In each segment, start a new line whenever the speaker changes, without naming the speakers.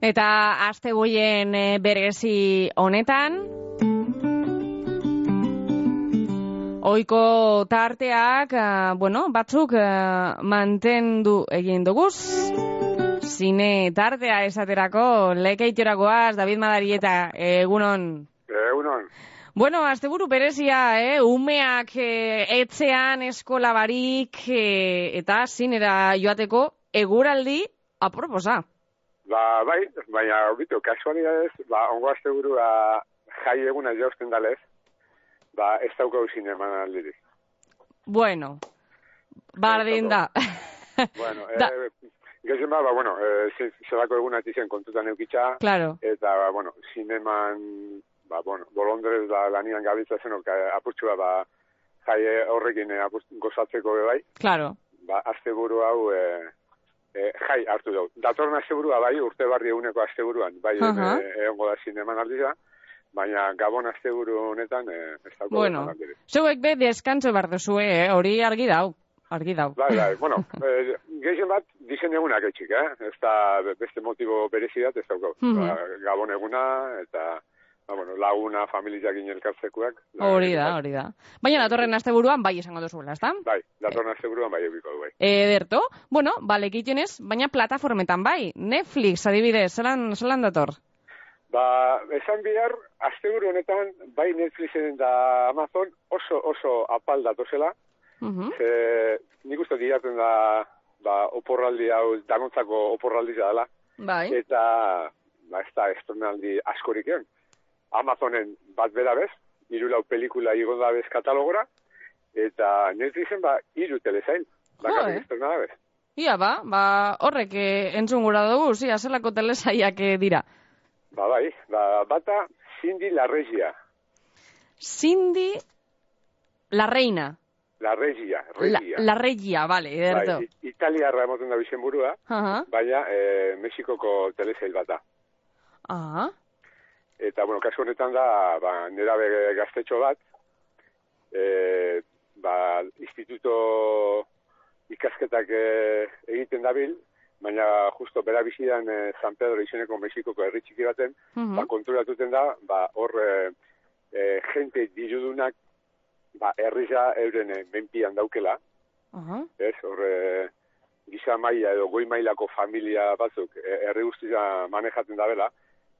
Eta aste buien e, berezi honetan, Oiko tarteak, ah, bueno, batzuk ah, mantendu egin duguz. Zine tartea esaterako, lekeitera goaz, David Madarieta, egunon.
Egunon,
Bueno, asteburu berezia, eh? umeak eh, etxean eskola barik eh, eta zinera joateko eguraldi aproposa.
ba, bai, baina okitu, kasualidadez, ba, ongo azte buru, ba, jai eguna jausten dalez, ba, ez dauka usin eman aldirik.
Bueno, bardin da.
Bueno,
Da.
e, gezen ba, ba, bueno, e, ze- zelako eguna tizen kontutan eukitza,
Claro,
eta, ba, bueno, zineman, ba, bueno, bolondrez da lanian gabiltza zenok, e, apurtxua, ba, jai horrekin e, apurt, gozatzeko be bai,
claro.
ba, azte buru hau, e, e, jai hartu dugu. Datorren asteburua bai, urte barri eguneko asteburuan, bai, uh
Aha.
egongo da zineman aldira, baina Gabon asteburu honetan e, ez dago
Bueno.
eman aldirik.
Zeuek be deskantzo behar duzue, eh? hori argi dau. Argi dau.
Bai, bai, bueno, e, gehien bat, dizen egunak etxik, eh? Ez da be- beste motibo berezidat ez dauko.
Mhm.
Ba, Gabon eguna, eta, ba, bueno, laguna, familiak inelkartzekuak.
Hori da, hori da. Baina datorren asteburuan bai esango duzuela, ezta? Eh,
Bai, datorren asteburuan bai eukiko du, bai.
Ederto, bueno, balekitenez, baina plataformetan bai, Netflix adibidez, zelan, zelan dator?
Ba, esan bihar, asteburu honetan, bai Netflixen da Amazon oso oso apal datozela.
Mhm.
Ze, nik uste diaten da, ba, oporraldi hau, danontzako oporraldi dela.
Bai.
Eh, Eta, ba, ez da, estrenaldi askorik egon. Amazonen bat bera bez, irulau pelikula igo da bez katalogora, eta Netflixen, ba, iru telezain,
Jo, eh?
bakarrik estrena da bez.
Ia ba, ba horrek eh, entzun gura dugu, zia, zelako telesaiak eh, dira.
Ba, bai, ba, bata, Cindy La Regia,
Cindy La Reina.
La Regia,
La,
Regia.
la Regia, vale, ederto.
Bai, i- italiarra emoten da izenburua,
Aha,
baina e, Mexikoko telesail bat da.
aha,
Eta, bueno, kasu honetan da, ba, nera gaztetxo bat, e, ba, instituto ikasketak e, egiten dabil, baina justo bera bizidan e, San Pedro izeneko Mexikoko herri txiki baten,
mhm,
ba, konturatuten da, ba, hor e, e, jente dirudunak, ba, herriza euren e, menpian daukela,
aha,
ez, hor, eh, gisa maila edo goi mailako familia batzuk eh, herri guztia manejatzen dabela,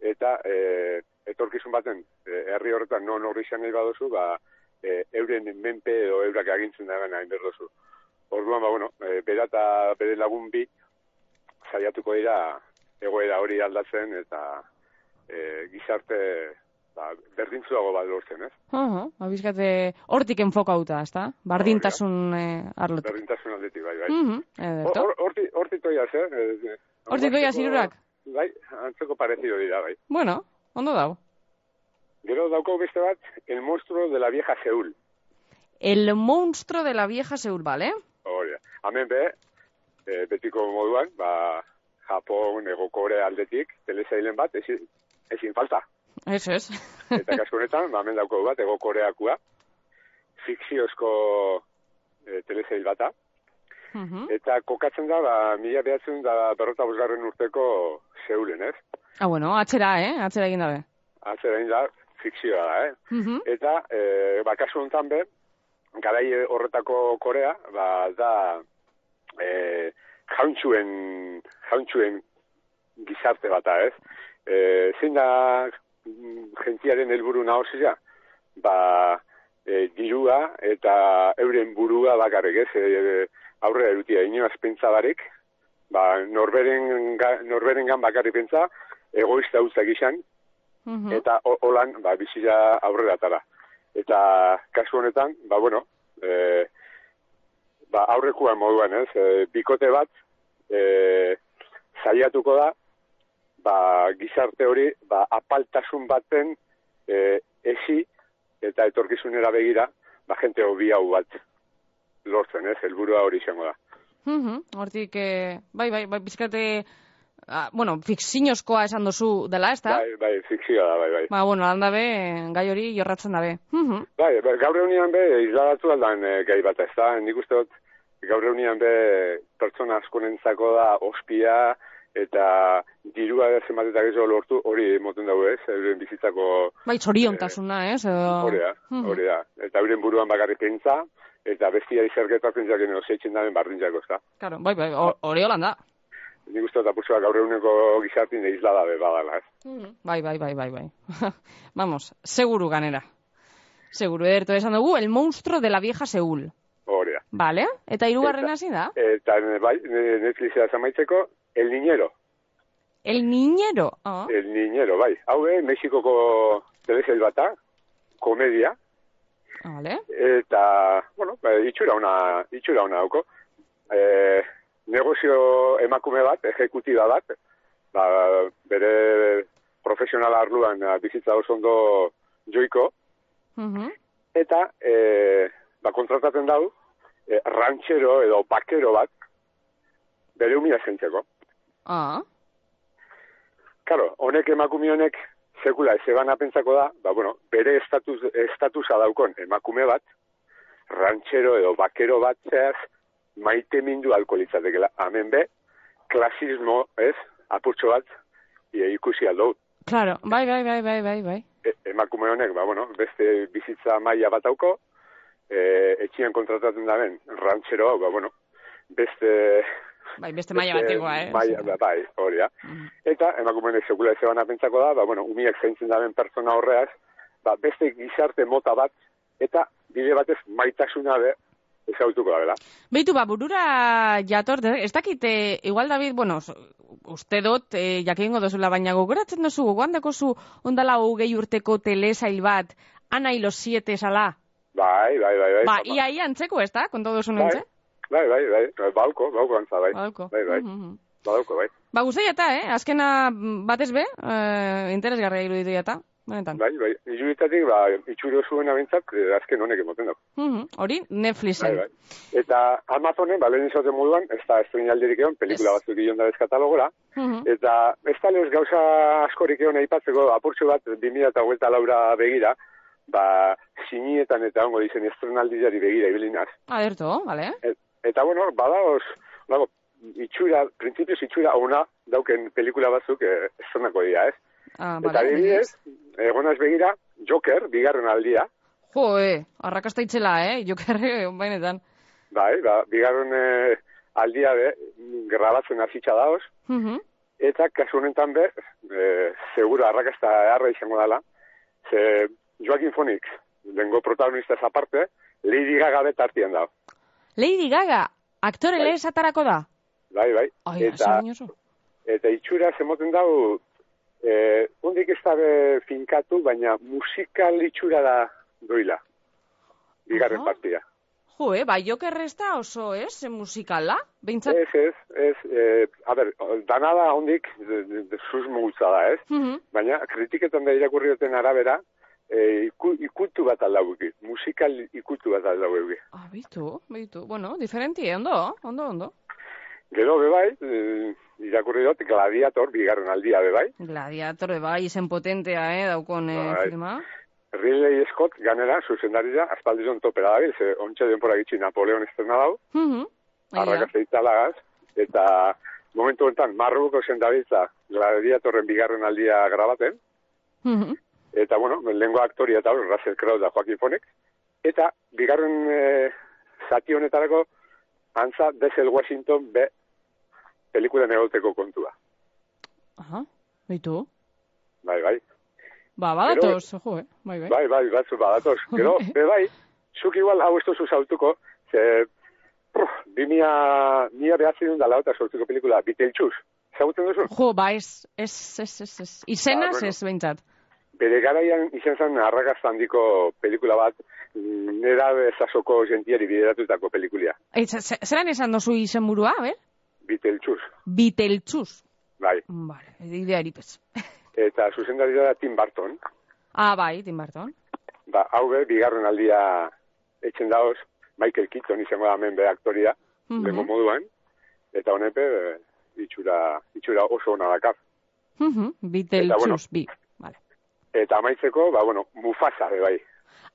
eta eh, etorkizun baten, eh, herri horretan non horri izan nahi baduzu, ba, eh, euren menpe edo eurak agintzen da gana inberdozu. Orduan, ba, bueno, eh, bera eta bere lagun bi, saiatuko dira egoera hori aldatzen eta eh, gizarte ba, berdintzuago bat lortzen, ez?
aha, abizkate Ba, hortik enfokauta, ezta? Bardintasun eh, arlotik.
Berdintasun aldetik, bai, bai.
Mhm, ederto.
Hor- Horti horti toiaz, eh? Eh, eh,
Hortik doia
antzeko-
zirurak?
Bai, antzeko parecido dira, bai.
Bueno, ondo dau.
Gero dauko beste bat, el monstruo de la vieja Seul.
El monstruo de la vieja Seul, vale?
Hori da. Hemen be, eh, betiko moduan, ba, Japon, Ego Korea aldetik, telesailen bat, ezin, ezin falta.
Eso es.
Eta kasu honetan, ba, hemen dauko bat, Ego Koreakua, fikziozko eh, telesail bata.
Mhm.
Eta kokatzen da, ba, mila behatzen da berrota bosgarren urteko Seulen, ez?
Ah, bueno, atxera, eh? Atxera egin dabe.
Atzerain da, fikzioa da, eh?
Mhm.
Eta, e, ba, kasu honetan be, garai horretako Korea, ba, da, e, jauntzuen, jauntzuen gizarte bata, ez? E, zein da mm, jentiaren helburu nahosia? Ba, e, dirua eta euren burua bakarrik, ez? E, aurrera erutia, inoaz pentsa barik, ba, norberen, norberengan bakarrik pentsa, egoista utzak izan,
Mhm.
eta ho- holan ba bizia aurreratara. Eta kasu honetan, ba bueno, e, ba aurrekoan moduan, ez? E, bikote bat e, saiatuko da ba gizarte hori ba apaltasun baten e, esi eta etorkizunera begira ba jente hobi hau bat lortzen, ez? Helburua hori izango da.
Mhm, hortik, eh, bai, bai, bai, pizkate, ah, bueno, fikzinozkoa esan duzu dela, ez da?
Bai, bai, fikzioa da, bai, bai.
Ba, bueno, handa be, gai hori jorratzen dabe. Mhm,
Bai, ba- gaur eunian be, izladatu aldan e, gai bat, ez da, nik uste dut, gaur eunian be, pertsona askonentzako da, ospia, eta dirua zenbat eta gehiago lortu hori moten dago ez, euren bizitzako
Bai, txoriontasuna, ez? Edo...
hori da,
Hmm.
hori da. Eta euren buruan bakarrik pentsa, eta bestiari zergetatzen jaken oseitzen daren bardintzako, ez da.
Claro, bai, bai, hor- hori holan da.
Nik uste dut apurtzoa gaur eguneko gizartin eizla dabe badala, ez.
Bai, bai, bai, bai, bai. Vamos, seguru ganera. Seguru, ederto esan dugu, el monstruo de la vieja Seúl.
Hori da.
Vale? Eta hirugarren
Eta-
hasi da?
Eta ne- bai, ne- Netflixera zamaitzeko, El Niñero.
El niñero. Ah,
El Niñero, bai. Hau, eh, Mexikoko telesail bata, komedia,
vale.
eta, bueno, ba, itxura ona, itxura ona dauko. E, negozio emakume bat, ejekutiba bat, ba, bere profesional arluan ah, bizitza oso ondo joiko,
Mhm.
eta e, ba, kontratatzen dau, e, rantxero edo bakero bat, bere umila zentzeko.
Ah,
Karo, honek emakume honek, sekula ez ebana pentsako da, ba, bueno, bere estatus, estatusa daukon emakume bat, rantxero edo bakero bat zehaz, maite mindu alko litzatekela. Hemen be, klasismo, ez, apurtxo bat, e, ikusi aldou.
claro. Bai, bai, bai, bai, bai, bai.
E, emakume honek, ba, bueno, beste bizitza maila bat dauko, e, etxian kontratatzen da ben, rantxero hau, ba, bueno, beste...
Bai, beste maila
beste
batekoa, eh?
Maila, ba, bai, hori da.
Mhm.
Eta emakumeen sekula ez ebana pentsako da, ba, bueno, umiak zaintzen daben pertsona horreaz, ba, beste gizarte mota bat, eta bide batez maitasuna be, ezautuko da, bela.
Beitu, ba, burura jator, de- ez dakit, eh, igual David, bueno, s- uste dut, e, jakingo dozula, baina gogoratzen duzu, gogoan dakozu, ondala hogei urteko telesail bat, ana hilo siete sala.
Bai, bai, bai, bai.
Ba,
papa.
ia, ia antzeko, ez da? Konta duzu
bai,
nintze?
bai, bai, bai, bauko, bauko antza, bai.
Badauko.
Bai, bai,
Mhm.
bauko, bai.
Ba, guzti jata, eh? Azkena mm, batez be, eh, interesgarria iruditu jata, benetan.
Bai, bai, iruditatik, ba, itxuro zuen abentzat, eh, azken honek emoten dago.
Mhm. Hori,
Bai,
Netflixen.
bai. Eta Amazonen, ba, lehen izaten moduan, ez da estrenaldirik egon, pelikula
Ez.
batzuk ion da bezkatalogora,
Mhm.
Eta ez talez gauza askorik egon aipatzeko, apurtxo bat 2008 laura begira, ba, sinietan eta ongo dizen estrenaldiari begira ibilinaz.
Aderto, vale?
Et, eta bueno, bada, os, dago, itxura, printzipioz itxura ona dauken pelikula batzuk eh, estrenako dira, ez?
Ah,
eta
vale.
adibidez, egonaz begira, Joker, bigarren aldia,
Jo, eh, arrakasta itzela, eh? Jokerre, benetan.
bai, ba, bigarren eh, aldia be, grabatzen azitza daoz,
Mhm.
Eta kasu honetan be, e, segura arrakasta harra izango dela, ze Joaquin Phoenix, lengo protagonista aparte, Lady Gaga be tartian da.
Lady Gaga, aktore
Bai.
bai. esatarako da.
Bai, bai.
Ai,
eta,
esan oso.
eta itxura zemoten dau, e, hundik ez da be finkatu, baina musikal itxura da doila. Bigarren
Aha.
partida.
Jo, eh, ba, joker ez da oso, ez, eh, musikala? Beintzat.
Ez, ez, ez, e, a ber, danada hundik de- de- de susmo gutza da, ez?
Mhm.
Baina kritiketan da irakurri duten arabera, e, iku, ikutu bat aldauki, musikal ikutu bat aldauki.
Ah, bitu, bitu. Bueno, diferenti, eh, ondo, ondo, ondo.
Gero bebai, e, irakurri dut, gladiator, bigarren aldia bebai.
Gladiator, bai, izen potentea, eh, daukon eh,
Bai.
filma.
Ridley Scott ganera, zuzendarira, aspaldizon topera dabil, ze ontsa denpora gitxi Napoleon esterna dau,
Mhm. Egia.
arrakazeita lagaz, eta momentu honetan marruko zendabiltza gladiatorren bigarren aldia grabaten,
Mhm.
Eta, bueno, lehenko aktoria eta hor, Russell Crowe da Joaquin Phoenix. Eta, bigarren eh, zati honetarako, antza Denzel Washington be pelikulan egoteko kontua.
Aha, bitu.
Bai, bai.
Ba, badatoz, jo, eh, bai, bai.
Bai, bai, batzu badatoz. Gero, be bai, zuk igual hau ez duzu zautuko, ze, pruf, bi mila, mila behatzi duen dala eta sortuko pelikula, biteltxuz. Zagutzen duzu?
Jo, ba, ez, ez, ez, ez, ez.
Ba,
Izenaz
bueno.
ez, behintzat.
Bere garaian izan zen arrakazta handiko pelikula bat, mm, nera bezasoko jentiari bideratutako pelikulia.
Ez, ze- Zeran esan dozu izenburua, ber?
Biteltxuz,
Biteltxuz.
bai.
Vale, ideari pez.
eta zuzendaria da Tim Burton.
Ah, bai, Tim Burton.
Ba, hau be, bigarren aldia etxen daoz, Michael Keaton izango da hemen be aktoria,
Mhm.
lehengo moduan, eta honepe, itxura, itxura oso ona dakar.
Mhm, Beetlejuice,
Eta, bueno.
bi. Vale.
Eta amaitzeko, ba, bueno, Mufasa be bai,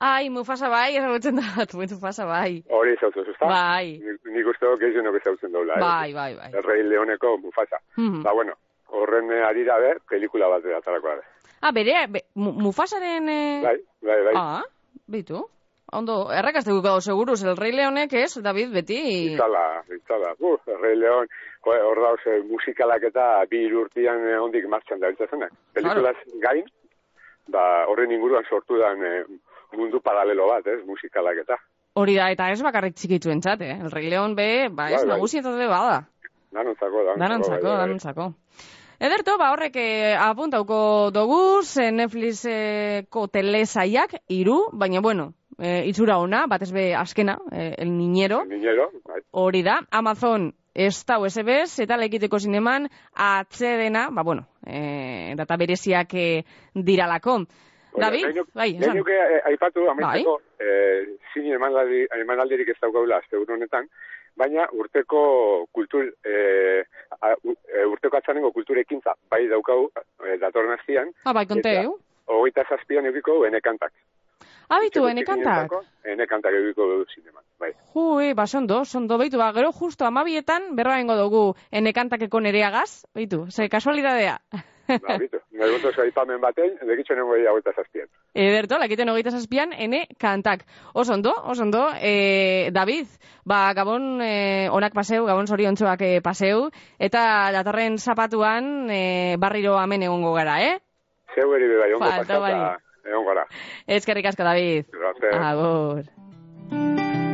Ai, Mufasa bai, ezagutzen da, Mufasa bai.
Hori zautzen ezta?
Bai.
Nik, nik uste dut gehienok ezautzen daula. eh?
Bai, bai, bai.
Rey Leoneko Mufasa.
Mhm.
Ba, bueno, horren eh, arira be, pelikula bat atarako da.
Ah, bere, be, Mu- Mufasaren... eh,
Bai, bai, bai.
Ah, bitu. Ondo, errakazte gukau seguruz, el rei leonek ez, David, beti...
Itzala, itzala. Uh, Rey Leon, jo, hor dauz eh, musikalak eta bi irurtian eh, ondik martxan da biltzazenak. Pelikulaz gain, ba, horren inguruan sortu dan eh, mundu paralelo bat, ez, musikalak eta.
Hori da, eta ez bakarrik txikitzuentzat, eh? El rei leon be, ba, ez,
Bai, bai.
nagusietate bada.
Danontzako, danontzako.
Danantzako,
bai, bai.
danantzako. Ederto, ba horrek eh, apuntauko doguz, eh, Netflixeko telesaiak, iru, baina bueno, eh, itxura ona, batez be azkena, eh, el niñero,
Niñero, bai.
hori da, Amazon ez da USBs, eta lekiteko zineman atxedena, ba bueno, eh, data bereziak eh, diralako.
Oia,
David,
nahi nuk-
bai,
nahi
esan. Bai.
nuke, eh, aipatu, amaitzeko, eh, zine emanaldi- emanaldirik ez daukagula asteburu honetan, baina urteko kultur, eh, a- u- eh, urteko atzanengo kultur ekintza, bai daukau eh, datorren astian,
Ah, bai, konteu.
hogeita zazpian eukiko enekantak.
Abitu, enekantak.
Enekantak eukiko zineman, bai.
Jue, ba, sondo, sondo, beitu, ba, gero justo amabietan berra ingo dugu enekantakeko nereagaz, beitu, ze kasualidadea.
Ba, bitu. Nahi gotu zua aipamen baten, dekitxo nengo ia hogeita zazpian.
Ederto, lakiten hogeita zazpian, ene kantak. Oso ondo, oso ondo, e, David, ba, gabon e, onak paseu, gabon zoriontsuak e, paseu, eta datorren zapatuan e, barriro hemen egongo gara, eh?
Zeu eri bebai, ongo
Falta
pasata,
bari.
egon gara. Eh.
Ah, Ezkerrik asko, David.
Gracias.
Agur.